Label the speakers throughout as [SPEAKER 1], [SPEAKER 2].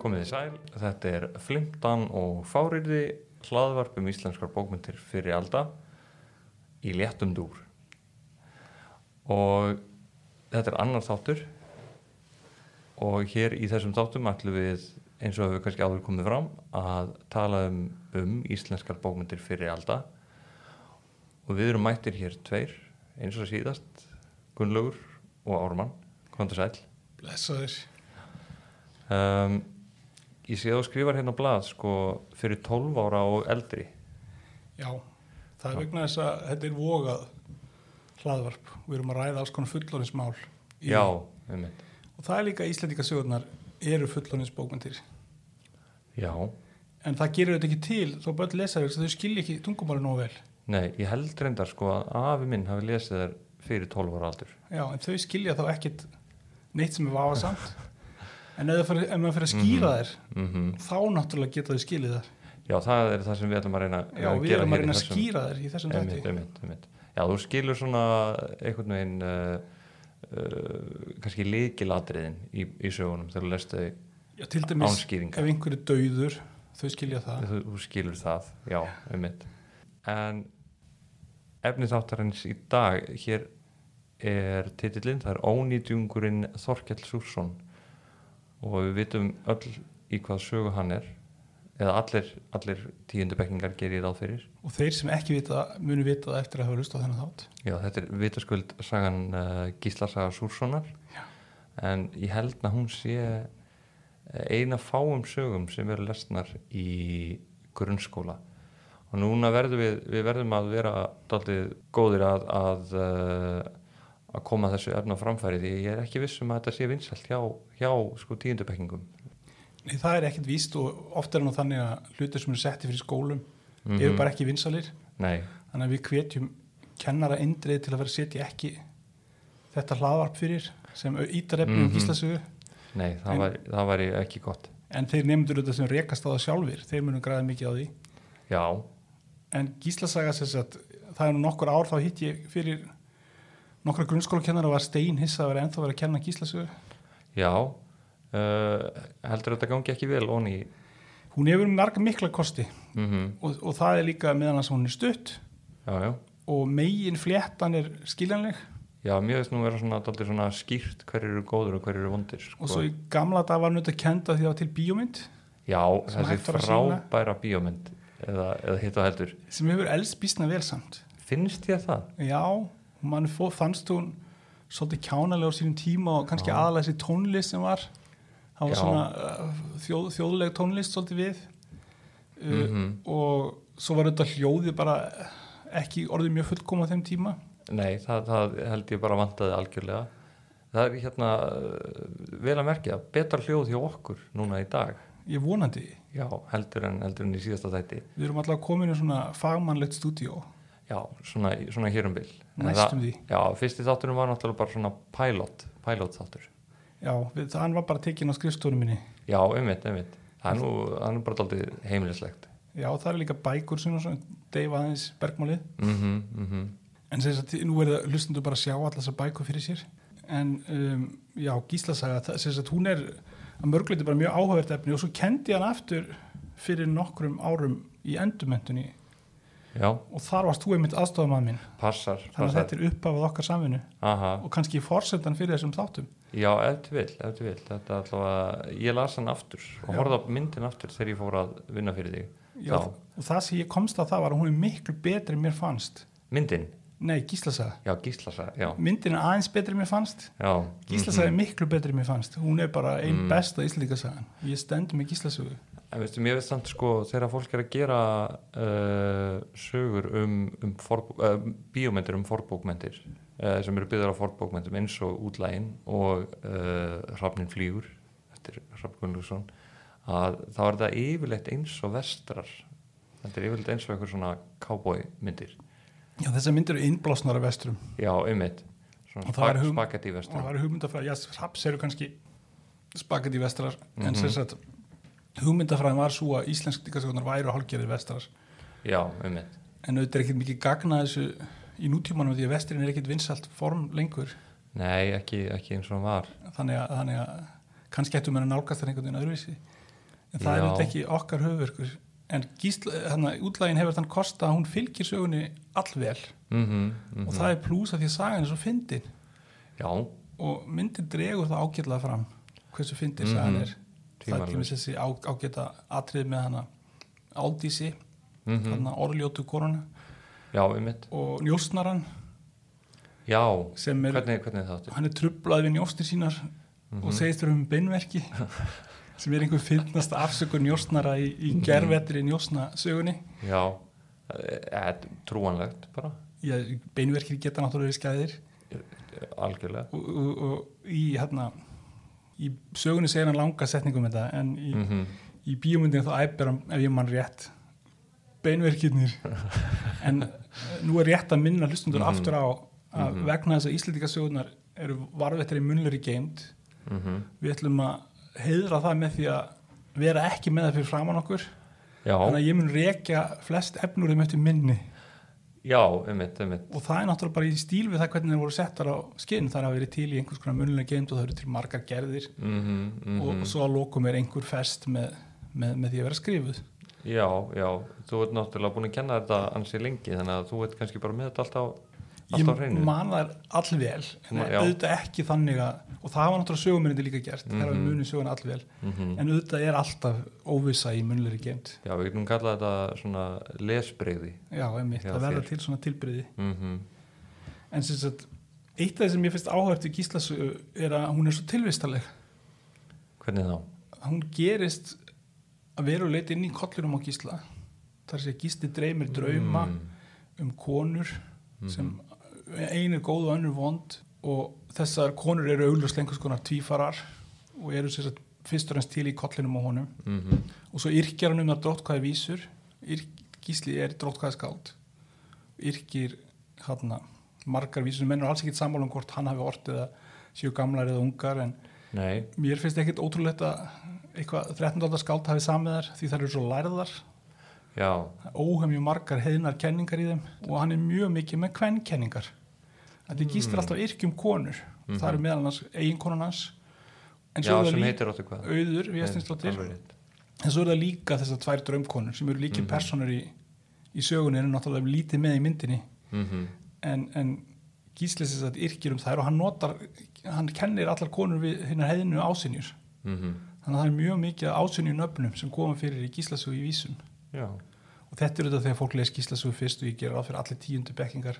[SPEAKER 1] Komið þið sæl, þetta er Flimtan og Fáriði, hlaðvarp um íslenskar bókmyndir fyrir alda í léttum dúr. Og þetta er annar þáttur og hér í þessum þáttum ætlum við, eins og hefur kannski áður komið fram, að tala um, um íslenskar bókmyndir fyrir alda og við erum mættir hér tveir, eins og síðast, Gunnlaugur og Ármann, komið þið sæl.
[SPEAKER 2] Blessaður.
[SPEAKER 1] um, Ég sé að þú skrifar hérna á blað sko, fyrir 12 ára og eldri
[SPEAKER 2] Já, það er vegna þess að þetta er vogað hlaðvarp. Við erum að ræða alls konar fulloninsmál.
[SPEAKER 1] Já, einmitt
[SPEAKER 2] Og það er líka Íslandikasögurnar eru fulloninsbókmyndir.
[SPEAKER 1] Já,
[SPEAKER 2] En það gerir þetta ekki til þó börn lesa þess að þau skilja ekki tungumáli nóg vel.
[SPEAKER 1] nei, ég held reyndar sko að afi minn hafi lesið þær fyrir 12 ára aldur
[SPEAKER 2] Já, en þau skilja þá ekkit neitt sem er vafasamt. en ef, það fer, ef maður fyrir að skýra
[SPEAKER 1] mm
[SPEAKER 2] þær, þá náttúrulega geta þau skiljað þær.
[SPEAKER 1] Já, það er það sem við ætlum að reyna
[SPEAKER 2] Já, við erum að reyna að skýra þær í þessum
[SPEAKER 1] einmitt,
[SPEAKER 2] dætti.
[SPEAKER 1] einmitt, einmitt. Já, þú skilur svona einhvern veginn uh, uh, kannski líkilatriðin í, í sögunum þegar þú lest þau
[SPEAKER 2] Já, til dæmis,
[SPEAKER 1] Ánskýringar.
[SPEAKER 2] ef einhverju dauður, þau skilja það.
[SPEAKER 1] þú, þú skilur það, já, um mitt en efni þáttarins í dag hér er titillinn, það er Ónýtjungurinn Þorkell Súrsson og við vitum öll í hvað sögu hann er eða allir, allir tíundubekningar gerir ráð fyrir
[SPEAKER 2] og þeir sem ekki vita, munu vita það eftir að hafa lust á þennan þátt
[SPEAKER 1] já, þetta er vitaskuld sagan uh, Gíslasaga Súrssonar
[SPEAKER 2] Já.
[SPEAKER 1] en ég held að hún sé eh, eina fáum sögum sem eru lesnar í grunnskóla og núna verðum við, við verðum að vera daldið góðir að að, eh, að koma þessu efna á framfæri því ég er ekki viss um að þetta sé vinsælt hjá, hjá sko tíundubekkingum
[SPEAKER 2] Nei, það er ekkert víst og oft er nú þannig að hlutir sem eru setti fyrir skólum
[SPEAKER 1] Mhm.
[SPEAKER 2] eru bara ekki vinsalir
[SPEAKER 1] nei,
[SPEAKER 2] þannig að við hvetjum kennara indrið til að vera að setja ekki þetta hlaðvarp fyrir sem ítar efni um
[SPEAKER 1] Mhm.
[SPEAKER 2] gíslasögu
[SPEAKER 1] nei, það,
[SPEAKER 2] En-
[SPEAKER 1] var, það var ekki gott
[SPEAKER 2] en þeir nefndur þetta sem rekast á það sjálfir þeir munu græða mikið á því
[SPEAKER 1] já,
[SPEAKER 2] en gíslasaga sem sagt það er nú nokkur ár þá hitt ég fyrir nokkra grunnskólakennara var stein hissa að vera ennþá verið að kenna gíslasögu
[SPEAKER 1] já uh, heldur þetta gangi ekki vel onni
[SPEAKER 2] hún hefur marga mikla kosti
[SPEAKER 1] mm
[SPEAKER 2] og, og það er líka meðan að hún er stutt
[SPEAKER 1] já, já
[SPEAKER 2] og megin fléttan er skiljanleg
[SPEAKER 1] Já, mér veist nú vera svona, dálítið svona skýrt hverjir eru góður og hverjir eru vondir sko.
[SPEAKER 2] og svo í gamla dag var hann auðvitað kenda því það var til bíómynd
[SPEAKER 1] Já,
[SPEAKER 2] sem
[SPEAKER 1] þessi
[SPEAKER 2] hægt var að sýna.
[SPEAKER 1] frábæra bíómynd eða, eða hitt og heldur
[SPEAKER 2] sem hefur elst býsna vel samt
[SPEAKER 1] Finnst ég það?
[SPEAKER 2] já, og mann fó, fannst hún svolítið kjánalega á sínum tíma og kannski
[SPEAKER 1] Já.
[SPEAKER 2] aðalega þessi tónlist sem var það var
[SPEAKER 1] Já.
[SPEAKER 2] svona uh, þjóð, þjóðleg tónlist svolítið við uh,
[SPEAKER 1] Mhm.
[SPEAKER 2] og svo var auðvitað hljóðið bara ekki orðið mjög fullkoma á þeim tíma
[SPEAKER 1] Nei, það, það held ég bara vantaði algjörlega Það er hérna uh, vel að merkja, betra hljóð hjá okkur núna í dag
[SPEAKER 2] ég vonandi,
[SPEAKER 1] Já, heldur en, heldur en í síðasta þætti
[SPEAKER 2] við erum allavega komin í svona fagmannlegt stúdíó
[SPEAKER 1] Já, svona, svona hér um bil En
[SPEAKER 2] Næstum
[SPEAKER 1] það-
[SPEAKER 2] því.
[SPEAKER 1] Já, fyrsti þátturinn var náttúrulega bara svona pilot, pilot þáttur
[SPEAKER 2] já, við, hann var bara tekinn á skrifstofunum minni
[SPEAKER 1] Já, einmitt, einmitt Það er nú, það er nú bara daldið heimilislegt
[SPEAKER 2] Já, það eru líka bækur sem og svona, deyfa aðeins bergmálið.
[SPEAKER 1] Mhm, mhm
[SPEAKER 2] En sem sagt, nú er það hlustundu bara að sjá allar þessar bækur fyrir sér. En um, já, Gíslasaga, það- sem sagt, hún er að mörgleiti bara mjög áhugavert efni og svo kendi hann aftur fyrir nokkrum árum í endurmentunni
[SPEAKER 1] Já,
[SPEAKER 2] og þar varst þú einmitt aðstofamað minn.
[SPEAKER 1] passar,
[SPEAKER 2] Þannig að
[SPEAKER 1] passar.
[SPEAKER 2] þetta er upphafað okkar samvinnu
[SPEAKER 1] Aha,
[SPEAKER 2] og kannski forsendan fyrir þessum þáttum.
[SPEAKER 1] já, ef til vill, ef til vill þetta er allavega, ég las hann aftur og
[SPEAKER 2] Já.
[SPEAKER 1] horfði á myndin aftur þegar ég fór að vinna fyrir þig
[SPEAKER 2] Já.
[SPEAKER 1] Já.
[SPEAKER 2] Og það sem ég komst að það var að hún er miklu betri en mér fannst.
[SPEAKER 1] myndin,
[SPEAKER 2] Nei, Gíslasaga.
[SPEAKER 1] já, gíslasa, já,
[SPEAKER 2] Myndin er aðeins betri en mér fannst.
[SPEAKER 1] já Mhm.
[SPEAKER 2] Gíslasaga er miklu betri mér fannst hún er bara einn besta íslendingasagan ég stend með Gíslasögu
[SPEAKER 1] en veistu, mér veist samt sko þegar fólk er að gera uh, sögur um, um for, uh, bíómyndir um forbókmyndir uh, sem eru byggðar á forbókmyndum eins og útlægin og uh, Hrafnin flýgur eftir Hrafn Gunnlaugsson að þá er þetta yfirleitt eins og vestrar þetta er yfirleitt eins og einhver svona cowboy myndir
[SPEAKER 2] já, þessar myndir eru innblásnar af vesturum
[SPEAKER 1] Já, einmitt Svona
[SPEAKER 2] Og það er
[SPEAKER 1] spak
[SPEAKER 2] hum-
[SPEAKER 1] spagetti
[SPEAKER 2] og
[SPEAKER 1] vestur
[SPEAKER 2] það eru hugmyndafræði, já, hraps eru kannski spagetti vestrar en sem sagt hugmyndafræðin var svo að íslendingasögunar væru hálfgerðir vestrar
[SPEAKER 1] Já, einmitt
[SPEAKER 2] en auðvitað er ekkert mikið gagna þessu í nútímanum því að vesturinn er ekkert vinsalt form lengur
[SPEAKER 1] Nei, ekki, ekki eins og hann var
[SPEAKER 2] þannig að, þannig að kannski ættum við að nálgast það einhvern veginn öðruvísi en það
[SPEAKER 1] Já.
[SPEAKER 2] er auðvitað ekki okkar höfverkur en gísla, hana, útlægin hefur þann kosta að hún fylgir sögunni allvel
[SPEAKER 1] mm -hmm,
[SPEAKER 2] og það er plús að því að sagan er svo fyndin
[SPEAKER 1] Já,
[SPEAKER 2] og myndin dregur það ágætlega fram hversu fyndin sagan er það er
[SPEAKER 1] Tvímælalaust.
[SPEAKER 2] til dæmis þessi á, ágæta atrið með hana Aldísi mm orðljótu koruna
[SPEAKER 1] já, einmitt
[SPEAKER 2] og njósnaran
[SPEAKER 1] Já,
[SPEAKER 2] sem er,
[SPEAKER 1] hvernig, hvernig það áttu?
[SPEAKER 2] hann er trublað við njóstir sínar og segist þér um beinverki sem er einhver fyndnast afsökun njósnara í, í gervetri njósnasögunni
[SPEAKER 1] Já, e, trúanlegt bara,
[SPEAKER 2] Já, beinverkir geta náttúrulega verið skæðir
[SPEAKER 1] algjörlega
[SPEAKER 2] og, og, og í hérna í sögunni segir hann langa setningum þetta en í,
[SPEAKER 1] mm
[SPEAKER 2] í bíómyndinu þá æpir hann ef ég mann rétt beinverkirnir en eh, nú er rétt að minna hlustundur aftur á að vegna þess að Íslendingasögunar eru varvettari munlari geimt við ætlum að heiðra það með því að vera ekki með það fyrir framann okkur
[SPEAKER 1] Já,
[SPEAKER 2] þannig að ég mun rekja flest efnur þeim eftir minni
[SPEAKER 1] já, einmitt, einmitt
[SPEAKER 2] og það er náttúrulega bara í stíl við það hvernig þeir voru settar á skinn þar að verið til í einhvers konar munlega geimt og það eru til margar gerðir
[SPEAKER 1] mm
[SPEAKER 2] og, og svo að lokum er einhver fest með, með, með því að vera skrifuð
[SPEAKER 1] Já, já, þú ert náttúrulega búin að kenna þetta ansi lengi þannig að þú ert kannski bara með þetta allt á, allt á
[SPEAKER 2] ég
[SPEAKER 1] hreinu
[SPEAKER 2] man það allvel en
[SPEAKER 1] Ma- já.
[SPEAKER 2] auðvitað ekki þannig að og það var náttúrulega sögumyndin líka gert mm -hmm. þegar við munum söguna allvel
[SPEAKER 1] Mhm.
[SPEAKER 2] en auðvitað er alltaf óvisa í munlega geimt
[SPEAKER 1] Já, við getum kallað þetta svona lesbreyði
[SPEAKER 2] já, einmitt,
[SPEAKER 1] Já,
[SPEAKER 2] það verða
[SPEAKER 1] þér.
[SPEAKER 2] til svona tilbyrði
[SPEAKER 1] mm
[SPEAKER 2] en sem sagt, eitt af það sem ég finnst áhært í Gíslasögu er að hún er svo tilvistaleg
[SPEAKER 1] Hvernig þá?
[SPEAKER 2] hún gerist að veru leiti inn í kollinum á gísla þar sé gísli dreymir drauma
[SPEAKER 1] Mhm.
[SPEAKER 2] um konur sem einu er góð og önnur vond og þessar konur eru augljóslega einhvers konar tvífarar og eru sér að fyrst og reynst til í kollinum á honum
[SPEAKER 1] Mm -hmm.
[SPEAKER 2] og svo yrkjar hann um það dróttkvæði vísur Yrk, gísli er dróttkvæði skáld yrkir hana, margar vísur menn er alls ekkit sammála um hvort hann hafi ortið að séu gamlar eða ungar en
[SPEAKER 1] Nei,
[SPEAKER 2] Mér finnst ekkert ótrúlegt að eitthvað 13. aldar skáld hafi samið þar því þær eru svo lærðar,
[SPEAKER 1] já,
[SPEAKER 2] óhemju margar heiðnar kenningar í þeim og hann er mjög mikið með kvennkenningar. Þetta
[SPEAKER 1] Mm.
[SPEAKER 2] gístir alltaf yrkjum konur, það eru meðal hans eiginkonan hans, en svo
[SPEAKER 1] Mhm. já
[SPEAKER 2] er
[SPEAKER 1] sem
[SPEAKER 2] það líka
[SPEAKER 1] heitir áttu hvað
[SPEAKER 2] auður, við
[SPEAKER 1] Nei,
[SPEAKER 2] estinsdóttir,
[SPEAKER 1] alveg rétt.
[SPEAKER 2] en svo er það líka þessar tvær draumkonur sem eru
[SPEAKER 1] Mhm.
[SPEAKER 2] líkið personur í, í sögunni en eru náttúrulega lítið með í myndinni
[SPEAKER 1] Mhm.
[SPEAKER 2] en, en gíslis þess að yrkjur um þær og hann notar, hann kennir allar konur við hinnar heiðinu ásinjur.
[SPEAKER 1] Mhm.
[SPEAKER 2] Þannig að það er mjög mikið ásynju nöfnum sem koma fyrir í gíslasögu í vísum.
[SPEAKER 1] Já,
[SPEAKER 2] Og þetta er auðvitað þegar fólk les gíslasögu fyrst og ég gera ráð fyrir allir tíundu bekkingar.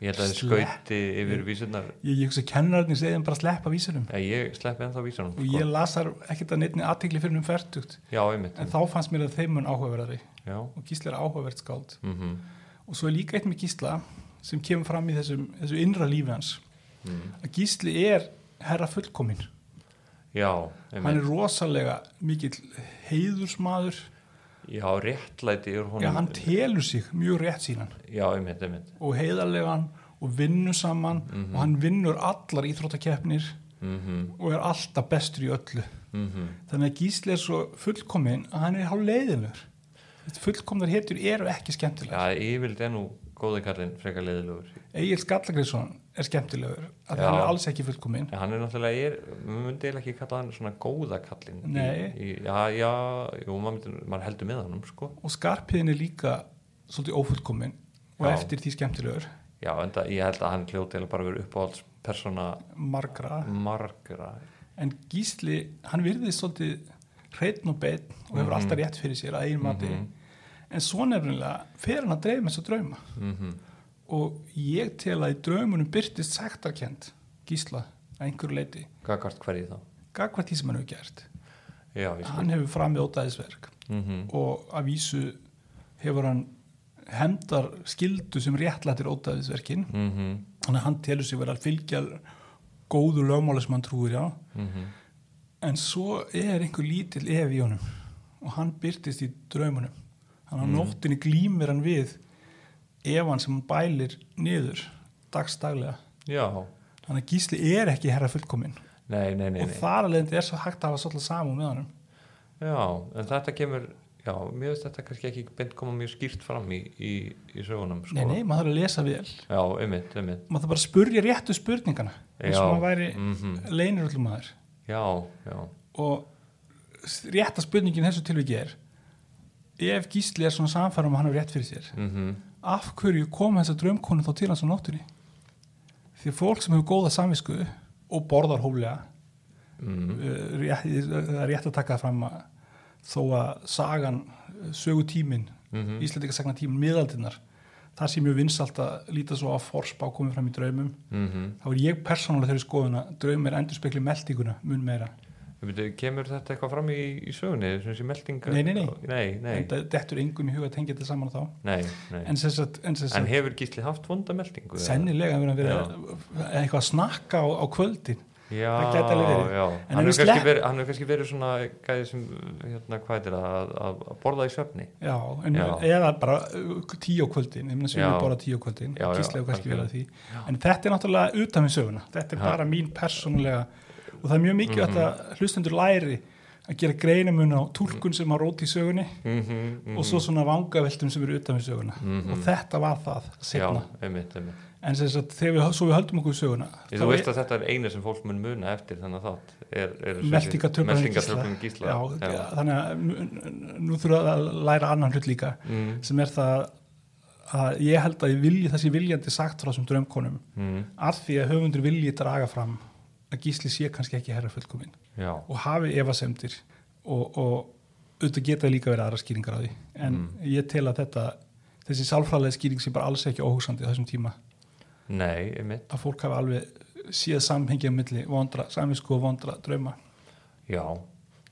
[SPEAKER 1] ég held að þið
[SPEAKER 2] Slepp.
[SPEAKER 1] skauti yfir vísunar
[SPEAKER 2] Ég, ég hugsa kennararnir segðum bara að sleppa vísunum.
[SPEAKER 1] Nei, ég sleppi ennþá vísunum sko.
[SPEAKER 2] Og ég las þar ekkert að neittni aðtegli fyrir um færtugt.
[SPEAKER 1] Já, einmitt
[SPEAKER 2] En þá fannst mér að þeim mun áhugaverðari.
[SPEAKER 1] Já,
[SPEAKER 2] Og gísla er áhugavert skáld.
[SPEAKER 1] mm
[SPEAKER 2] Og svo er líka eitt með gísla sem kemur fram í þessum, þessu innra lífi hans.
[SPEAKER 1] Mm.
[SPEAKER 2] Að gísli er herra fullkomin.
[SPEAKER 1] já, einmitt
[SPEAKER 2] Hann er rosalega mikill heiðursmaður.
[SPEAKER 1] Já, réttlæti er honum
[SPEAKER 2] Já, hann telur sig mjög rétt sínan.
[SPEAKER 1] Já, einmitt, einmitt
[SPEAKER 2] og heiðarlegan og vinnu saman
[SPEAKER 1] Mhm.
[SPEAKER 2] og hann vinnur allar íþróttakeppnir
[SPEAKER 1] mm -hmm.
[SPEAKER 2] og er alltaf bestur í öllu
[SPEAKER 1] mhm.
[SPEAKER 2] þannig að Gísli er svo fullkominn að hann er hálf leiðinur fullkomnar hetjur eru ekki skemmtilegar
[SPEAKER 1] Já, yfirld er nú góði kallinn frekar leiðilegur
[SPEAKER 2] Egil Skallagriðsson er skemmtilegur að
[SPEAKER 1] Já.
[SPEAKER 2] hann er alls ekki fullkominn
[SPEAKER 1] En hann er náttúrulega, er, maður myndi eiginlega ekki kalla hann svona góða kallinn í-
[SPEAKER 2] Nei.
[SPEAKER 1] í- Já, já, jú, maður, myndi, maður heldur með honum, sko
[SPEAKER 2] og skarpiðin er líka svolítið ófullkominn og
[SPEAKER 1] Já.
[SPEAKER 2] eftir því skemmtilegur
[SPEAKER 1] Já, en það, ég held að hann hljóti eiginlega bara verið uppáhaldspersona
[SPEAKER 2] margra
[SPEAKER 1] margra
[SPEAKER 2] en Gísli, hann virðist svolítið hreitn og beinn og hefur
[SPEAKER 1] Mhm.
[SPEAKER 2] alltaf rétt fyrir sér að eigin mati en svo nefnilega fer hann að dreif með þess að drauma
[SPEAKER 1] Mhm.
[SPEAKER 2] og ég tel að í draumunum byrtist sektarkend Gísla að einhverju leiti,
[SPEAKER 1] Gagvart hverju þá?
[SPEAKER 2] gagvart því sem hann hefur gert
[SPEAKER 1] Já, ég sko
[SPEAKER 2] hann hefur framið ótaðisverk
[SPEAKER 1] mm
[SPEAKER 2] og að vísu hefur hann hemdar skildu sem réttlættir ótaðisverkin
[SPEAKER 1] -hmm.
[SPEAKER 2] þannig að hann telur sig vera að fylgja góðu lögmála sem hann trúir á
[SPEAKER 1] mhm.
[SPEAKER 2] en svo er einhver lítill ef í honum og hann byrtist í draumunum þannig
[SPEAKER 1] Mm.
[SPEAKER 2] að nóttinni glýmir hann við efan sem hann bælir niður dagstaglega
[SPEAKER 1] Já,
[SPEAKER 2] þannig að Gísli er ekki herra fullkominn
[SPEAKER 1] nei, nei, nei,
[SPEAKER 2] og
[SPEAKER 1] nei.
[SPEAKER 2] þar alveg er svo hægt að hafa svolítið saman með honum
[SPEAKER 1] Já, en þetta kemur Já, mér veist þetta kannski ekki beint koma mjög skýrt fram í, í, í sögunum sko.
[SPEAKER 2] nei, nei, maður þarf að lesa vel
[SPEAKER 1] Já, einmitt, einmitt
[SPEAKER 2] maður þarf bara að spurja réttu spurningana eins og
[SPEAKER 1] Já.
[SPEAKER 2] maður væri mm
[SPEAKER 1] Mhm.
[SPEAKER 2] leinir öllum maður
[SPEAKER 1] Já, já
[SPEAKER 2] og rétta spurningin í þessu tilviki er ef Gísli er svona samfærum að hann er rétt fyrir sér
[SPEAKER 1] mm
[SPEAKER 2] af hverju kom þessa draumkonu þá til hans á nóttunni því að fólk sem hefur góða samvisku og borðar hóflega
[SPEAKER 1] mm,
[SPEAKER 2] eh, rétt- það er rétt að taka það fram að þó að sagan uh, sögu tímin, mm
[SPEAKER 1] Mhm.
[SPEAKER 2] íslendika sagna tímin miðaldinnar, það sé mjög vinsalt að líta svo að forspá komið fram í draumum
[SPEAKER 1] mm,
[SPEAKER 2] þá er ég persónulega þeirri skoðun að draumir endur spekli meldinguna mun meira
[SPEAKER 1] mm. kemur þetta eitthvað fram í, í sögunni þessi meldinga
[SPEAKER 2] Nei, nei, nei.
[SPEAKER 1] nei, nei,
[SPEAKER 2] en það dettur engum í huga að tengja þetta saman á þá
[SPEAKER 1] nei, nei.
[SPEAKER 2] en sem sagt, en sem
[SPEAKER 1] En
[SPEAKER 2] sagt
[SPEAKER 1] hefur Gísli haft vonda meldingu? eða?
[SPEAKER 2] sennilega verið að vera eitthvað að snakka á, á kvöldin
[SPEAKER 1] já,
[SPEAKER 2] það gæti alveg verið.
[SPEAKER 1] já.
[SPEAKER 2] En
[SPEAKER 1] Hann
[SPEAKER 2] ef við
[SPEAKER 1] hefur kannski,
[SPEAKER 2] slepp-
[SPEAKER 1] verið- hann hefur kannski verið svona gæði sem, hérna, hvað er það að, að, að borða í svefni
[SPEAKER 2] já, en,
[SPEAKER 1] Já.
[SPEAKER 2] eða bara uh, tíu á kvöldin ég meina sem
[SPEAKER 1] Já.
[SPEAKER 2] við bara tíu á kvöldin
[SPEAKER 1] Já, já,
[SPEAKER 2] gíslega kannski
[SPEAKER 1] algjörlega.
[SPEAKER 2] verið að því en þetta er náttúrulega utan við söguna þetta er
[SPEAKER 1] Já.
[SPEAKER 2] bara mín persónulega og það er mjög mikilvægt
[SPEAKER 1] Mhm.
[SPEAKER 2] að hlustendur læri að gera greinamun á
[SPEAKER 1] Mhm.
[SPEAKER 2] túlkun sem á róti í sögunni
[SPEAKER 1] mm -hmm,
[SPEAKER 2] og svo svona vangaveltum sem eru utan við söguna og þetta var það setna
[SPEAKER 1] Mhm. Já, einmitt, einmitt.
[SPEAKER 2] en sem sagt, þegar við, svo við höldum okkur við söguna
[SPEAKER 1] Þú veist að þetta er eina sem fólk mun muna eftir þannig að þátt er, er
[SPEAKER 2] meldingatöflunum
[SPEAKER 1] meldingatröflun gísla.
[SPEAKER 2] já, þannig að nú- nú þurfa að læra annan hlut líka
[SPEAKER 1] Mm,
[SPEAKER 2] sem er það að ég held að ég vilji þessi viljandi sagt frá þessum draumkonum
[SPEAKER 1] mm,
[SPEAKER 2] að því að höfundur vilji draga fram að gísli sé kannski ekki herra fullkomin
[SPEAKER 1] já,
[SPEAKER 2] og hafi efasemdir og, og auðvitað geta líka verið aðra skýringar á því en
[SPEAKER 1] Mm.
[SPEAKER 2] ég tel að þetta þessi sálfræðlega skýring sé bara alls ekki óhugsandi á þessum tíma
[SPEAKER 1] nei, einmitt.
[SPEAKER 2] að fólk hafi alveg séð samhengi á milli vondra, samvisku og vondra drauma
[SPEAKER 1] Já,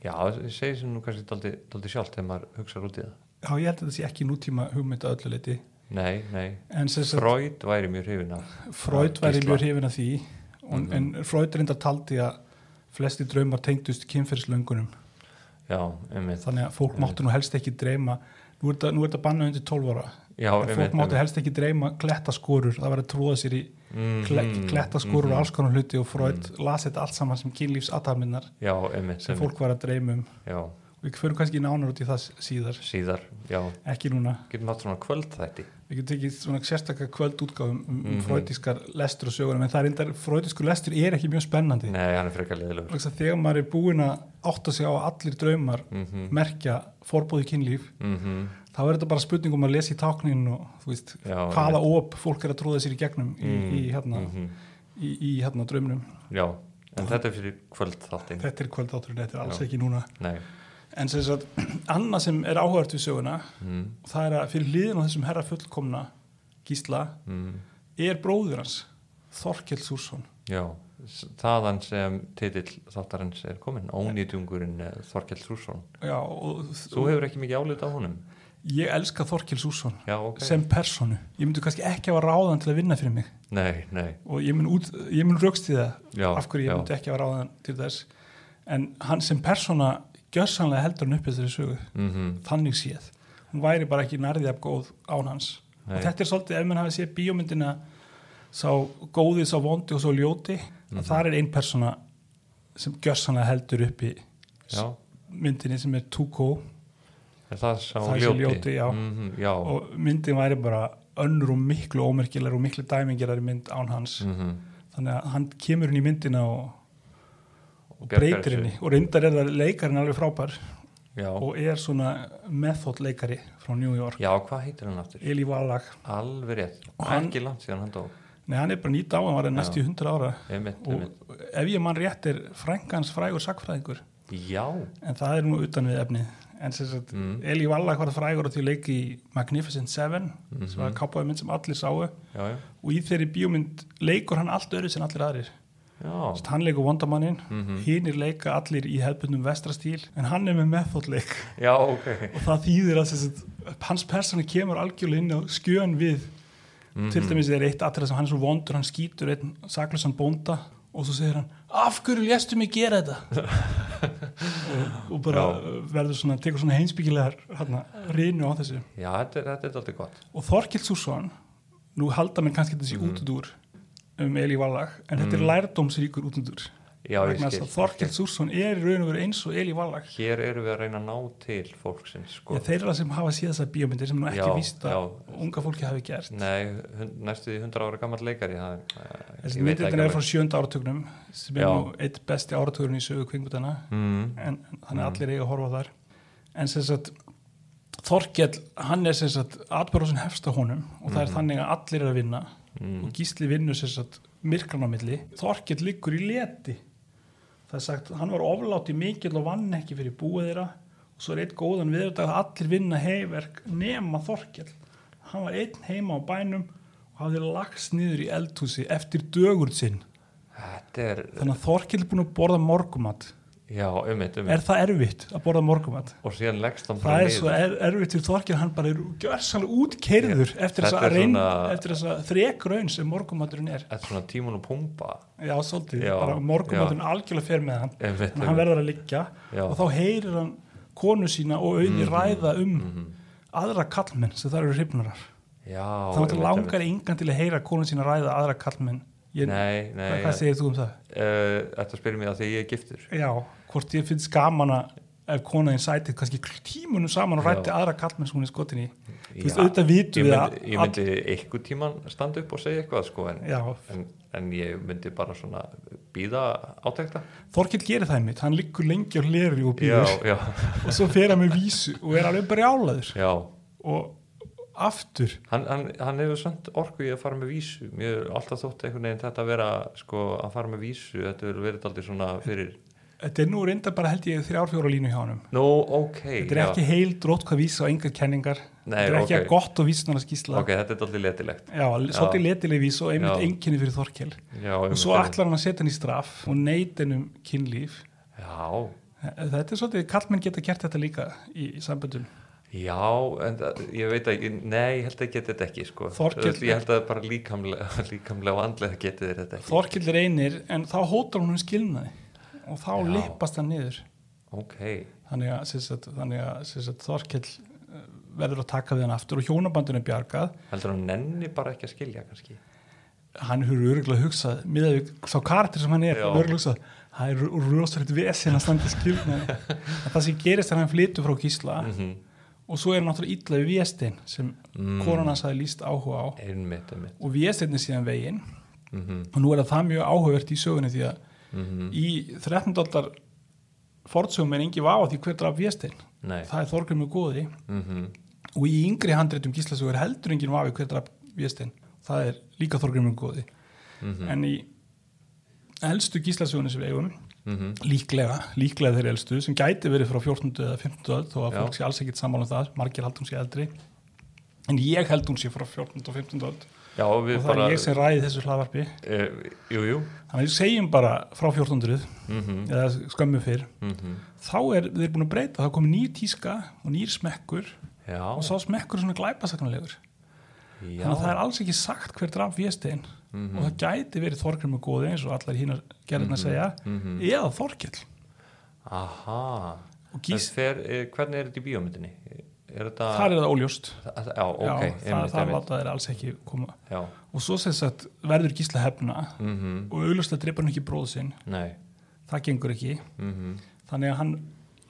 [SPEAKER 1] já, það segir sem nú kannski daldi, daldi sjálft þegar maður hugsaður út í það.
[SPEAKER 2] Já, ég held að þetta sé ekki nútíma hugmynd að öllu leiti
[SPEAKER 1] Nei, nei.
[SPEAKER 2] en sem sagt,
[SPEAKER 1] Freud væri mjög hrifin af.
[SPEAKER 2] Freud væri
[SPEAKER 1] Gísla.
[SPEAKER 2] mjög hrifin af því og,
[SPEAKER 1] Mm-hmm.
[SPEAKER 2] en Freud reyndar taldi að flesti draumar tengdust kynferðslöngunum
[SPEAKER 1] Já, einmitt.
[SPEAKER 2] þannig að fólk máttu nú helst ekki dreyma nú er þetta- nú er þetta bannað undir 12 ára
[SPEAKER 1] Já,
[SPEAKER 2] En fólk
[SPEAKER 1] einmitt.
[SPEAKER 2] máttu
[SPEAKER 1] einmitt.
[SPEAKER 2] helst ekki dreyma klettaskorur það var að tróða sér í
[SPEAKER 1] Mhm,
[SPEAKER 2] kle- klettaskorur
[SPEAKER 1] mhm.
[SPEAKER 2] og alls konar hluti og Freud las þetta allt saman sem kynlífsataminnar
[SPEAKER 1] Já, Mm-hmm. einmitt.
[SPEAKER 2] sem
[SPEAKER 1] einmitt.
[SPEAKER 2] fólk var að dreyma um
[SPEAKER 1] Já,
[SPEAKER 2] og við förum kannski nánar út í það síðar
[SPEAKER 1] síðar, já.
[SPEAKER 2] ekki núna
[SPEAKER 1] Getum hatt svona kvöldþætti.
[SPEAKER 2] við getum tekið svona sérstakka kvöldútgáfum um, um
[SPEAKER 1] Mhm.
[SPEAKER 2] fröytískar lestur og sögur en það er enda, fröytískur lestur er ekki mjög spennandi
[SPEAKER 1] Nei, hann er frekar leðilegur.
[SPEAKER 2] Vegna þess að þegar maður er búinn að átta sig á að allir draumar
[SPEAKER 1] Mm -hmm.
[SPEAKER 2] merkja forbúði kynlíf
[SPEAKER 1] Mm -hmm.
[SPEAKER 2] þá er þetta bara spurning um að lesa í táknin og þú veist,
[SPEAKER 1] Já,
[SPEAKER 2] hvaða óp fólk er að tróða sér í gegnum í, í, hérna,
[SPEAKER 1] -hmm.
[SPEAKER 2] í, í hérna draumnum
[SPEAKER 1] Já, en þetta er fyrir kvöldþáttin.
[SPEAKER 2] þetta er kvöldátturinn, þetta er alls
[SPEAKER 1] Já.
[SPEAKER 2] ekki núna
[SPEAKER 1] Nei.
[SPEAKER 2] en sem sagt, annað sem er áhugart við söguna,
[SPEAKER 1] Mm.
[SPEAKER 2] það er að fyrir hliðin á þessum herra fullkomna gísla
[SPEAKER 1] Mm.
[SPEAKER 2] er bróður hans Þorkel Súrsson
[SPEAKER 1] Já, s- þaðan sem titill þáttarins er komin, ónýtungurinn eh, Þorkell Þrússon.
[SPEAKER 2] Já, og
[SPEAKER 1] Þú hefur ekki mikið álit á honum?
[SPEAKER 2] ég elska Þorkel Súrsson
[SPEAKER 1] Já, ok.
[SPEAKER 2] sem personu, ég myndi kannski ekki að vara ráðan til að vinna fyrir mig
[SPEAKER 1] Nei, nei,
[SPEAKER 2] og ég mun, út- ég mun rökstíða
[SPEAKER 1] já.
[SPEAKER 2] af hverju ég
[SPEAKER 1] já.
[SPEAKER 2] myndi ekki að vara ráðan til þess en hann sem persona gjörsanlega heldur hann upp þessari sögu
[SPEAKER 1] Mhm,
[SPEAKER 2] þannig séð, hún væri bara ekki nærðið af góð án hans
[SPEAKER 1] Nei.
[SPEAKER 2] og þetta er svolítið, ef mann hafi séð bíómyndina sá góði, sá vondi og sá ljóti
[SPEAKER 1] Mhm.
[SPEAKER 2] að þar er ein persona sem gjörsanlega heldur upp í
[SPEAKER 1] Já,
[SPEAKER 2] myndinni sem er Tuko
[SPEAKER 1] er það sá
[SPEAKER 2] Það er sá
[SPEAKER 1] ljóti?
[SPEAKER 2] ljóti, já.
[SPEAKER 1] Mhm, já.
[SPEAKER 2] og myndin væri bara önnur og miklu ómerkilegar og miklu dæmingerar mynd án hans
[SPEAKER 1] mhm.
[SPEAKER 2] þannig að hann kemur inn í myndina og, og
[SPEAKER 1] Bjargar
[SPEAKER 2] breytir
[SPEAKER 1] þessu.
[SPEAKER 2] henni og reyndar er það leikarinn alveg frábær
[SPEAKER 1] Já.
[SPEAKER 2] og er svona method leikari frá New York,
[SPEAKER 1] já, hvað heitir hann aftur?
[SPEAKER 2] Eli Wallach
[SPEAKER 1] Alveg rétt,
[SPEAKER 2] Og hann-
[SPEAKER 1] ekki langt síðan hann dó.
[SPEAKER 2] nei hann er bara nýtt á hann var næstu í 100 ára
[SPEAKER 1] Einmitt,
[SPEAKER 2] og
[SPEAKER 1] einmitt.
[SPEAKER 2] ef ég mann rétt er frængans frægur sakfræðingur
[SPEAKER 1] Já,
[SPEAKER 2] en það er nú utan við efnið en sem sagt,
[SPEAKER 1] Mm.
[SPEAKER 2] Eli Wallach var frægur á því að leika í Magnificent Seven sem
[SPEAKER 1] Mhm.
[SPEAKER 2] var kápaði mynd sem allir sáu
[SPEAKER 1] já, já.
[SPEAKER 2] og í þeirri bíómynd leikur hann allt öðru sem allir aðrir
[SPEAKER 1] Já,
[SPEAKER 2] Sest, hann leikur Wondamannin, mm hinnir leika allir í hefbundum vestrastíl en hann er með methodleik
[SPEAKER 1] já, ok.
[SPEAKER 2] og það þýðir að sest, hans persónu kemur algjörlega inn á skjön við til dæmis er eitt atrið sem hann er svo vondur hann skýtur einn saklausan bónda og svo segir hann, af hverju léstu mig gera þetta og, og bara verður svona, tekur svona heimsbyggilegar hérna, rinu á þessu
[SPEAKER 1] Já, þetta er, þetta er alltaf gott.
[SPEAKER 2] og Þorkild Sússon nú halda mér kannski þessi mm. útudur um Eli Vallag en þetta er lærdómsríkur útudur
[SPEAKER 1] já, ég
[SPEAKER 2] vegna þess
[SPEAKER 1] skil
[SPEAKER 2] að Þorkild Súrsson er í raun og veru eins og Eli Wallach
[SPEAKER 1] hér eru við að reyna að ná til fólksins sko.
[SPEAKER 2] ég, þeir eru það sem hafa síða þessar bíómyndir sem er nú ekki
[SPEAKER 1] Já,
[SPEAKER 2] víst að
[SPEAKER 1] já. Mm.
[SPEAKER 2] unga fólki hafi gert
[SPEAKER 1] nei, hund, næstu því 100 ára gammal leikari það, eh,
[SPEAKER 2] þessi
[SPEAKER 1] ég veit það
[SPEAKER 2] myndirinn er
[SPEAKER 1] ekki
[SPEAKER 2] frá sjönda áratugnum sem er
[SPEAKER 1] Já.
[SPEAKER 2] nú eitt besti áratugurinn í sögu kvingbútana
[SPEAKER 1] mm,
[SPEAKER 2] en þannig að allir eiga að horfa á þar en sem sagt Þorkell, hann er sem sagt atbyrðusin hefst á honum og það er
[SPEAKER 1] Mm.
[SPEAKER 2] þannig að allir er að vinna og gísli vinnur sem sagt myrkran á milli Þorkell liggur í leti það er sagt, hann var oflátt í mikill og vann ekki fyrir búið þeirra og svo er eitt góðan við þetta að allir vinna heiverk nema Þorkell hann var einn heima á bænum og hafði lagst niður í eldhúsi eftir dögur sinn
[SPEAKER 1] þetta er,
[SPEAKER 2] þannig að Þorkell er búin að borða morgumat
[SPEAKER 1] já, ummitt,
[SPEAKER 2] er
[SPEAKER 1] ummitt
[SPEAKER 2] það erfitt að borða morgumat
[SPEAKER 1] og síðan leggst hann bara
[SPEAKER 2] það er
[SPEAKER 1] niður.
[SPEAKER 2] svo er, erfitt fyrir Þorkell hann bara er gjörsanlega útkeirður eftir
[SPEAKER 1] Þetta
[SPEAKER 2] þessa,
[SPEAKER 1] er
[SPEAKER 2] reyn,
[SPEAKER 1] svona-
[SPEAKER 2] eftir þessa þrekraun sem morgumaturinn er
[SPEAKER 1] Þetta er svona tímun og pumpa
[SPEAKER 2] já, svolítið,
[SPEAKER 1] Já,
[SPEAKER 2] bara morgumaturinn algjörlega fer með hann
[SPEAKER 1] Einmitt,
[SPEAKER 2] þannig að hann
[SPEAKER 1] einmitt.
[SPEAKER 2] verður að liggja
[SPEAKER 1] Já. Mhm.
[SPEAKER 2] og þá heyrir hann konu sína og auði ræða um aðra kallmenn sem það eru hrifnarar
[SPEAKER 1] Já, einmitt,
[SPEAKER 2] þá máttu langar
[SPEAKER 1] einmitt.
[SPEAKER 2] engan til að heyra konu sína ræða aðra kallmenn ég,
[SPEAKER 1] Nei, nei,
[SPEAKER 2] hvað segir þú um það?
[SPEAKER 1] eh, þetta spyrir mig að því ég er giftur
[SPEAKER 2] já, hvort ég finnst gaman að ef konaðin sætið kannski tímunum saman og
[SPEAKER 1] Já.
[SPEAKER 2] rætti aðra kallmenn sem hún er skotin í þú veist,
[SPEAKER 1] Já,
[SPEAKER 2] auðvitað
[SPEAKER 1] Ég
[SPEAKER 2] vitum við að
[SPEAKER 1] myndi, ég myndi einhver tíman standa upp og segja eitthvað sko en,
[SPEAKER 2] Já,
[SPEAKER 1] en, en ég myndi bara svona býða átekta
[SPEAKER 2] Þorkill gerir það einmitt, hann liggur lengi á hleri
[SPEAKER 1] Já,
[SPEAKER 2] og býður
[SPEAKER 1] já,
[SPEAKER 2] og svo fer hann með vísu og er alveg brjálaður
[SPEAKER 1] já
[SPEAKER 2] og aftur
[SPEAKER 1] Hann, hann, hann hefur samt orku í að fara með vísu Mér er alltaf þótt einhvern veginn þetta að vera sko að fara með vísu Þetta er verið aldrei svona fyrir
[SPEAKER 2] þetta er nú reynda bara held ég þrjárfjóra línu hjá hann
[SPEAKER 1] Nú, ok
[SPEAKER 2] þetta er
[SPEAKER 1] já.
[SPEAKER 2] ekki heil drótt hvað vísa og engar kenningar
[SPEAKER 1] Nei,
[SPEAKER 2] þetta er ekki
[SPEAKER 1] ok.
[SPEAKER 2] að gott og vísnara skísla
[SPEAKER 1] Ok, þetta er aldrei letilegt
[SPEAKER 2] já, svolítið letileg vísu og einmitt
[SPEAKER 1] Já.
[SPEAKER 2] enginni fyrir Þorkill
[SPEAKER 1] já,
[SPEAKER 2] og
[SPEAKER 1] einmitt,
[SPEAKER 2] svo
[SPEAKER 1] einmitt.
[SPEAKER 2] ætlar hann að setja hann í straff og neytinum kynlíf
[SPEAKER 1] Já,
[SPEAKER 2] þetta er svolítið, kallmenn geta gert þetta líka í, í samböndum
[SPEAKER 1] Já, en það, ég veit ekki, nei, ég held að geti þetta ekki, sko.
[SPEAKER 2] Þorkell-
[SPEAKER 1] Ég held að bara líkamlega, líkamlega og andlega geti þeir þetta ekki.
[SPEAKER 2] Þorkill er einir en þá hótar hún um skilnaði og þá
[SPEAKER 1] Já.
[SPEAKER 2] lippast hann niður
[SPEAKER 1] Ok,
[SPEAKER 2] þannig að, sem sagt, þannig að sem sagt, Þorkell eh, verður að taka við hann aftur og hjónabandinu bjargað
[SPEAKER 1] heldur hann nenni bara ekki að skilja, kannski.
[SPEAKER 2] hann hefur öruglega hugsað miðað við sá kartir sem hann er
[SPEAKER 1] Já.
[SPEAKER 2] hann hefur hugsað, það er úr rosalegt vesinn að standa skilna en það sem gerist er að hann flytur frá Gísla
[SPEAKER 1] Mm. Mhm,
[SPEAKER 2] og svo er hann náttúrulega illa við Viestein sem mm. konan hans hafi líst áhuga á
[SPEAKER 1] Einmitt, einmitt.
[SPEAKER 2] og Viestein er síðan veginn
[SPEAKER 1] Mm
[SPEAKER 2] og nú er það mjög áhugavert í sögunni því að
[SPEAKER 1] Mhm.
[SPEAKER 2] í 13. aldar fortsögum er engi vafa því hver draf Viestein
[SPEAKER 1] Nei.
[SPEAKER 2] það er Þorgrymur góði
[SPEAKER 1] Mm
[SPEAKER 2] og í yngri handreitum gíslasögu er heldur enginn vafi hver draf Viestein það er líka Þorgrymur góði
[SPEAKER 1] Mhm.
[SPEAKER 2] en í elstu gíslasögunni sem við eigum
[SPEAKER 1] Mhm.
[SPEAKER 2] líklega, líklega þeirri elstu sem gæti verið frá 14. eða 15. öld þó að
[SPEAKER 1] Já.
[SPEAKER 2] fólk sé alls ekkit sammála um það margir haldum sé eldri en ég heldum sé frá 14. og 15. öld
[SPEAKER 1] Já, og við
[SPEAKER 2] og það
[SPEAKER 1] bara...
[SPEAKER 2] er ég sem ræði þessu hlaðvarpi
[SPEAKER 1] Eh, jú, jú.
[SPEAKER 2] þannig að við segjum bara frá 1400
[SPEAKER 1] Mm -hmm.
[SPEAKER 2] eða skömmu fyrr
[SPEAKER 1] Mm
[SPEAKER 2] þá er þeir búin að breyta, þá er komið nýr tíska og nýr smekkur
[SPEAKER 1] Já,
[SPEAKER 2] og sá smekkur er svona glæpasagnarlegur
[SPEAKER 1] já. Mhm.
[SPEAKER 2] þannig að það er alls ekki sagt hver draf Viestein og það gæti verið Þorgrymur góði eins og allar hínar gerðin að segja
[SPEAKER 1] Mhm.
[SPEAKER 2] eða Þorkell
[SPEAKER 1] Aha.
[SPEAKER 2] og
[SPEAKER 1] Gís...
[SPEAKER 2] gís,
[SPEAKER 1] Fer, eh, hvernig er þetta í bíómyndinni? Er þetta...
[SPEAKER 2] þar er það óljóst
[SPEAKER 1] það... Já, ok,
[SPEAKER 2] Já, það,
[SPEAKER 1] einmitt,
[SPEAKER 2] það
[SPEAKER 1] einmitt.
[SPEAKER 2] láta þeir alls ekki koma
[SPEAKER 1] Já.
[SPEAKER 2] og svo sem sagt verður gísla hefna
[SPEAKER 1] Mm
[SPEAKER 2] og augljóslega dreipar hann ekki bróð sinn
[SPEAKER 1] Nei.
[SPEAKER 2] það gengur ekki,
[SPEAKER 1] Mm
[SPEAKER 2] þannig að hann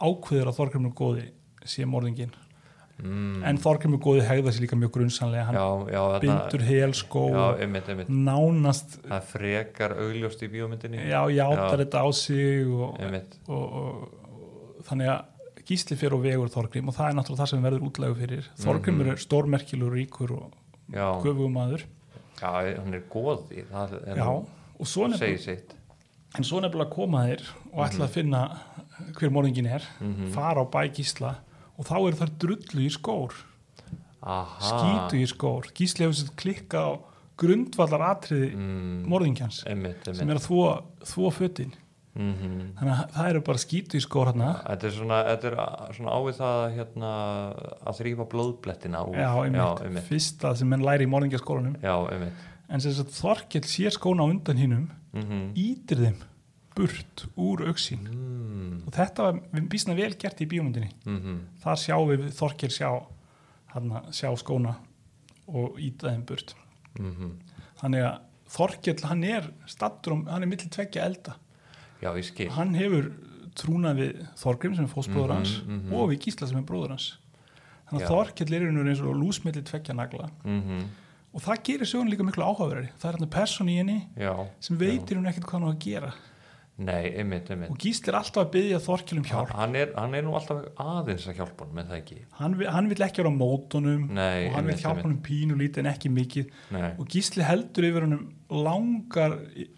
[SPEAKER 2] ákveður að Þorgrymur góði sé morðingin
[SPEAKER 1] mm.
[SPEAKER 2] en Þorgrymur góði hegða sér líka mjög grunsanlega hann
[SPEAKER 1] Já, já, þarna...
[SPEAKER 2] bindur helskó
[SPEAKER 1] Já,
[SPEAKER 2] og
[SPEAKER 1] einmitt, einmitt.
[SPEAKER 2] nánast
[SPEAKER 1] Það er frekar augljóst í bíómyndinni
[SPEAKER 2] já, játar
[SPEAKER 1] Já.
[SPEAKER 2] þetta á sig og,
[SPEAKER 1] Einmitt,
[SPEAKER 2] og, og, og þannig að Gísli fyrir og vegur Þorgrím og það er náttúrulega það sem verður útlegu fyrir Þorgrímur er stórmerkilur ríkur og
[SPEAKER 1] Mhm. já,
[SPEAKER 2] göfugum maður
[SPEAKER 1] já, hann er góði það er
[SPEAKER 2] já,
[SPEAKER 1] nú-
[SPEAKER 2] og svo
[SPEAKER 1] það segir
[SPEAKER 2] nefnilega,
[SPEAKER 1] sitt
[SPEAKER 2] en svo nefnilega koma þeir og ætla
[SPEAKER 1] Mhm.
[SPEAKER 2] að finna hver morðingin er fara á bæ Gísla og þá eru þar drullu í skór
[SPEAKER 1] Aha,
[SPEAKER 2] skýtu í skór Gísli hefur sér klikka á grundvallar atriði
[SPEAKER 1] mm,
[SPEAKER 2] morðingjans
[SPEAKER 1] einmitt,
[SPEAKER 2] sem er
[SPEAKER 1] einmitt
[SPEAKER 2] að þvo, þvo fötin
[SPEAKER 1] mm -hmm.
[SPEAKER 2] þannig að það eru bara skýtu í skór hérna
[SPEAKER 1] Þetta er svona, þetta er a- svona ávið það að, hérna, að þrýfa blóðblettina úr
[SPEAKER 2] Já, einmitt.
[SPEAKER 1] já, einmitt,
[SPEAKER 2] Fyrsta sem menn læri í morðingjaskólanum.
[SPEAKER 1] já, einmitt.
[SPEAKER 2] En sem sagt Þorkell sér skóna á undan hinnum,
[SPEAKER 1] Mm
[SPEAKER 2] ítir þeim burt úr auksín.
[SPEAKER 1] mm,
[SPEAKER 2] Og þetta var við býsna vel gert í bíómyndinni.
[SPEAKER 1] mm -hmm.
[SPEAKER 2] Þar sjáum við Þorkell sjá, hana, sjá skóna og íta þeim burt.
[SPEAKER 1] Mm -hmm.
[SPEAKER 2] Þannig að Þorkell, hann er stattur, hann er millir tveggja elda.
[SPEAKER 1] já, ég skil
[SPEAKER 2] hann hefur trúnað við Þorgrim sem er fósbróður
[SPEAKER 1] Mhm,
[SPEAKER 2] hans
[SPEAKER 1] mhm.
[SPEAKER 2] og við Gísla sem er bróður hans þannig
[SPEAKER 1] Já.
[SPEAKER 2] að Þorkell er einhvern eins og lúsmilli tvekja nagla
[SPEAKER 1] mm
[SPEAKER 2] og það gerir sögun líka miklu áhugaverðari það er hann person í henni
[SPEAKER 1] já,
[SPEAKER 2] sem veitir hún ekkert hvað hann á að gera
[SPEAKER 1] nei, einmitt, einmitt
[SPEAKER 2] og Gísli er alltaf að byggja Þorkell um hjálp
[SPEAKER 1] hann er, hann er nú alltaf aðeins að hjálpa hann með það ekki
[SPEAKER 2] hann, vi- hann vil ekki vera á mótunum
[SPEAKER 1] Nei,
[SPEAKER 2] og hann vil
[SPEAKER 1] einmitt,
[SPEAKER 2] hjálpa
[SPEAKER 1] einmitt.
[SPEAKER 2] hann pínu lítið en ekki mikið
[SPEAKER 1] nei,
[SPEAKER 2] og Gísli heldur yfir hann langar í-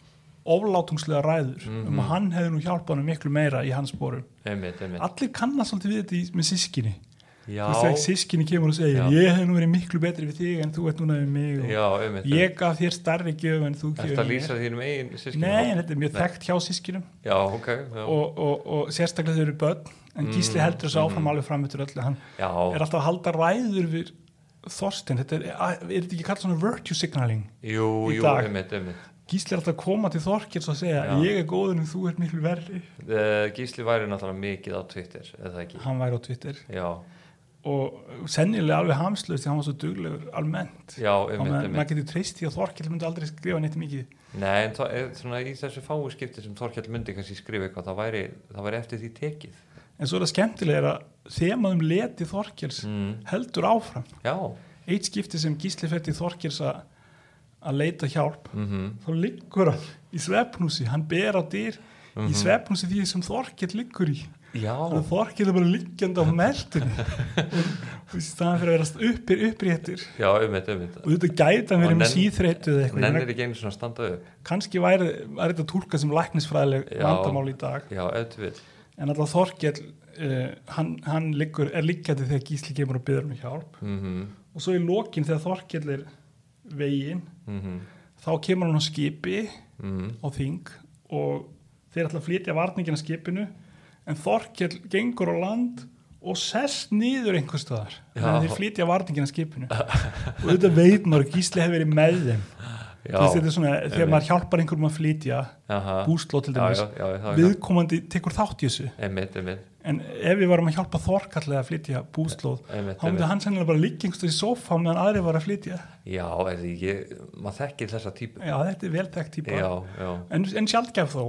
[SPEAKER 2] oflátungslega ræður um að hann hefði nú hjálpað hann miklu meira í hans borum
[SPEAKER 1] einmitt, Mhm. einmitt
[SPEAKER 2] allir kannast svolítið við þetta í- með sískinni
[SPEAKER 1] já,
[SPEAKER 2] þú veist þegar sískinni kemur og segir
[SPEAKER 1] Já.
[SPEAKER 2] ég hef nú verið miklu betri við þig en þú ert núna við mig og
[SPEAKER 1] já, einmitt
[SPEAKER 2] ég gaf þér starri gjöf en þú
[SPEAKER 1] Þetta
[SPEAKER 2] mér."
[SPEAKER 1] lýsa þínum eigin sískinum
[SPEAKER 2] Nei, en þetta er mjög
[SPEAKER 1] Nei.
[SPEAKER 2] þekkt hjá sískinum
[SPEAKER 1] Já, ok Já, Mm,
[SPEAKER 2] og, og, og sérstaklega þau eru börn en Gísli heldur þessu áfram alveg fram yfir öllu hann
[SPEAKER 1] já,
[SPEAKER 2] er alltaf að halda ræður við Þorstein, þetta er, er þetta ekki kallað svona virtue signaling
[SPEAKER 1] jú,
[SPEAKER 2] í
[SPEAKER 1] jú,
[SPEAKER 2] dag.
[SPEAKER 1] einmitt, einmitt
[SPEAKER 2] Gísli er alltaf að koma til Þorkels og segja
[SPEAKER 1] Já.
[SPEAKER 2] ég er góður en þú ert miklu verri
[SPEAKER 1] Eh, Gísli væri náttúrulega mikið á Twitter eða ekki,
[SPEAKER 2] hann væri á Twitter
[SPEAKER 1] já,
[SPEAKER 2] og sennilega alveg hamslaust því hann var svo duglegur almennt
[SPEAKER 1] já,
[SPEAKER 2] Þannig
[SPEAKER 1] einmitt,
[SPEAKER 2] að maður
[SPEAKER 1] einmitt
[SPEAKER 2] getur treyst því að Þorkell myndi aldrei skrifa neitt mikið
[SPEAKER 1] Nei, en það er svona í þessu fáu skipti sem Þorkell myndi kannski skrifa eitthvað, það væri, það væri eftir því tekið
[SPEAKER 2] en svo er það skemmtilega er að þemaðum leti Þorkels
[SPEAKER 1] mm.
[SPEAKER 2] heldur áfram
[SPEAKER 1] Já,
[SPEAKER 2] eitt skipti sem Gísli fer til Þorkels að að leita hjálp
[SPEAKER 1] mhm
[SPEAKER 2] þá liggur hann í svefnúsi hann ber á dyr
[SPEAKER 1] Mhm.
[SPEAKER 2] í svefnúsi því sem Þorkell liggur í
[SPEAKER 1] Já,
[SPEAKER 2] þannig að Þorkell er bara liggjandi á meldunni og í staðan fyrir að vera uppir uppréttur
[SPEAKER 1] já, einmitt, einmitt
[SPEAKER 2] og þetta gæti hann
[SPEAKER 1] Og
[SPEAKER 2] verið með
[SPEAKER 1] nenn-
[SPEAKER 2] síþreytu eða eitthvað
[SPEAKER 1] Nennir
[SPEAKER 2] Nenir...
[SPEAKER 1] ekki einu svona að standa upp
[SPEAKER 2] kannski væri væri þetta tólka sem læknisfræðileg
[SPEAKER 1] Já.
[SPEAKER 2] vandamál í dag
[SPEAKER 1] Já, ef þú vil
[SPEAKER 2] en alltaf Þorkell uh, hann, hann liggur, er liggjandi þegar Gísli kemur og byður um hjálp
[SPEAKER 1] mm
[SPEAKER 2] og svo í lokin þegar Þorkell er veginn
[SPEAKER 1] Mhm,
[SPEAKER 2] þá kemur hann á skipi
[SPEAKER 1] mhm,
[SPEAKER 2] á þing og þeir ætla að flytja varningin að skipinu en Þorkell gengur á land og sest niður einhvers staðar þannig að
[SPEAKER 1] Já.
[SPEAKER 2] þeir flytja varningin að skipinu og þetta veit maður að Gísli hefur verið með þeim Þú veist, þetta
[SPEAKER 1] Já,
[SPEAKER 2] er svona, þegar maður hjálpar einhverjum að flytja
[SPEAKER 1] aha
[SPEAKER 2] búslóð til
[SPEAKER 1] Já,
[SPEAKER 2] dæmis,
[SPEAKER 1] já, já, já, já.
[SPEAKER 2] viðkomandi tekur þátt í þessu,
[SPEAKER 1] Einmitt, einmitt,
[SPEAKER 2] en ef við varum að hjálpa Þorkallega að flytja búslóð
[SPEAKER 1] einmitt,
[SPEAKER 2] þá myndi
[SPEAKER 1] einmitt.
[SPEAKER 2] hann sennilega bara liggja einhverstu í sófa meðan aðri var að flytja
[SPEAKER 1] Já, er því ég, maður þekkir þessa típu
[SPEAKER 2] já, þetta er veltækt típa
[SPEAKER 1] Já, já,
[SPEAKER 2] en, en sjaldgæf þó,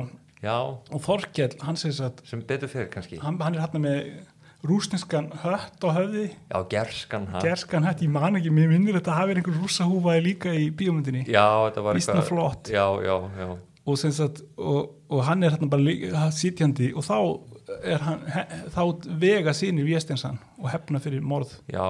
[SPEAKER 1] já
[SPEAKER 2] og Þorkell hann segir að
[SPEAKER 1] sem betur fyrir kannski
[SPEAKER 2] hann, hann er hérna með rúsneskan hött á höfði,
[SPEAKER 1] Já, gerskan hann
[SPEAKER 2] gerskan hött ég man ekki, mér minnir þetta hafi verið einhver rússahúfaði líka í bíómyndinni
[SPEAKER 1] Já, þetta var
[SPEAKER 2] Býsna flott.
[SPEAKER 1] Já, já, já,
[SPEAKER 2] og, sem sagt, og, og hann er hérna bara lí- ha- sitjandi og þá, er hann, he, þá vega sínir Véstensan og hefna fyrir morð
[SPEAKER 1] já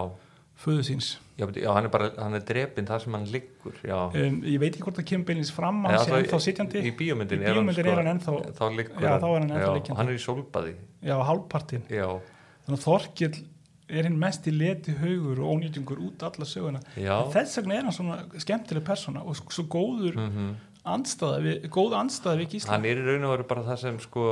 [SPEAKER 2] föðu síns
[SPEAKER 1] Já, betur- já, hann er bara, hann er drepinn þar sem hann liggur Já,
[SPEAKER 2] um, ég veit ekki hvort það kemur beinins fram
[SPEAKER 1] Nei,
[SPEAKER 2] hann sé
[SPEAKER 1] alltaf
[SPEAKER 2] ennþá sitjandi
[SPEAKER 1] Í bíómyndin,
[SPEAKER 2] Í bíómyndinni er hann ennþá-
[SPEAKER 1] sko- Þá liggur
[SPEAKER 2] Já, þá er hann ennþá
[SPEAKER 1] Já,
[SPEAKER 2] liggjandi.
[SPEAKER 1] Hann er í sólbaði
[SPEAKER 2] já, hálfpartin
[SPEAKER 1] Já,
[SPEAKER 2] þannig að Þorkill er hinn mest í leti haugur og ónýtingur út alla söguna
[SPEAKER 1] já
[SPEAKER 2] þess vegna er hann svona skemmtileg persóna og svo góður
[SPEAKER 1] mm
[SPEAKER 2] andstæða við, góð andstæða við Gísla
[SPEAKER 1] Hann er í raun og veru bara það sem sko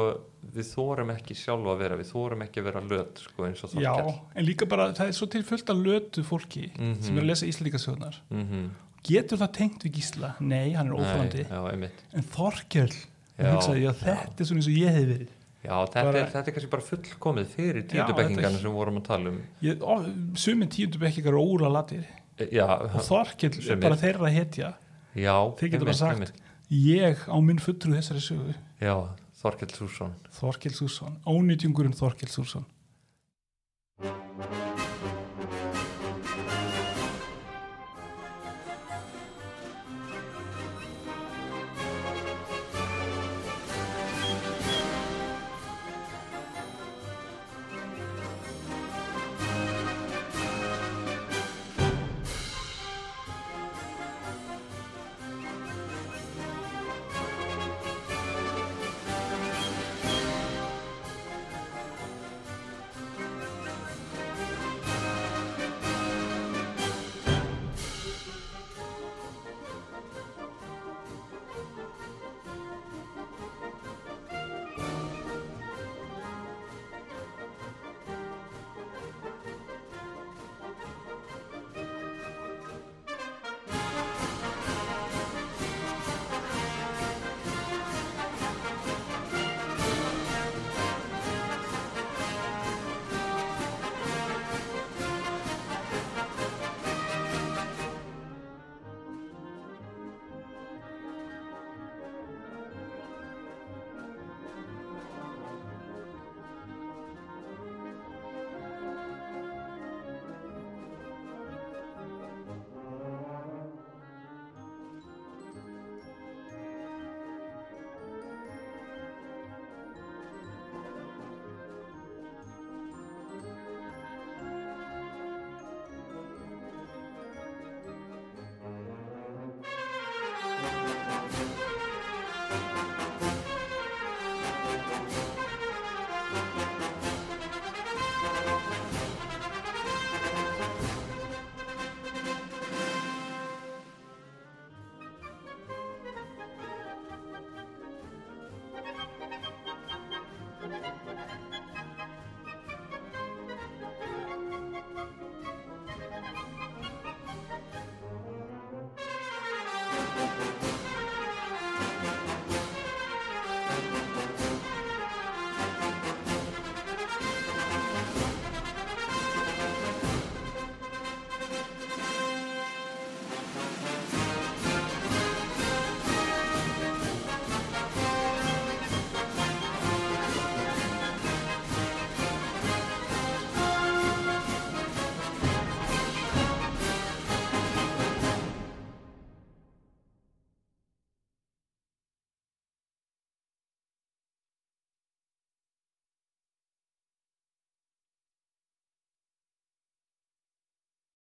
[SPEAKER 1] við þórum ekki sjálfa að vera, við þórum ekki að vera löt sko eins og
[SPEAKER 2] já,
[SPEAKER 1] Þorkell
[SPEAKER 2] en líka bara það er svo til fullt að lötu fólki
[SPEAKER 1] Mhm.
[SPEAKER 2] sem er að lesa Íslandikasögnar
[SPEAKER 1] Mhm.
[SPEAKER 2] getur það tengt við Gísla? Nei, hann er óþólandi
[SPEAKER 1] Nei, Já, einmitt
[SPEAKER 2] en Þorkell
[SPEAKER 1] Já,
[SPEAKER 2] já, hugsaði, já, þetta er svona eins og ég hef verið
[SPEAKER 1] Já, þetta,
[SPEAKER 2] Bara-
[SPEAKER 1] er, þetta er kannski bara fullkomið fyrir
[SPEAKER 2] Já,
[SPEAKER 1] títubekkingarna
[SPEAKER 2] þetta-
[SPEAKER 1] sem vorum að tala um
[SPEAKER 2] ég, ó, sumin tíundu bekkikar eru óla latir
[SPEAKER 1] E, Já,
[SPEAKER 2] og Þorkell
[SPEAKER 1] Sumir.
[SPEAKER 2] er bara þeirra að hetja
[SPEAKER 1] já
[SPEAKER 2] þeir getur bara
[SPEAKER 1] einmitt,
[SPEAKER 2] sagt,
[SPEAKER 1] einmitt.
[SPEAKER 2] ég á minn fulltrú í þessari sögu
[SPEAKER 1] Já, Þorkell Sússon
[SPEAKER 2] Þorkell Súrsson, ónýtjungurinn Þorkell Súrsson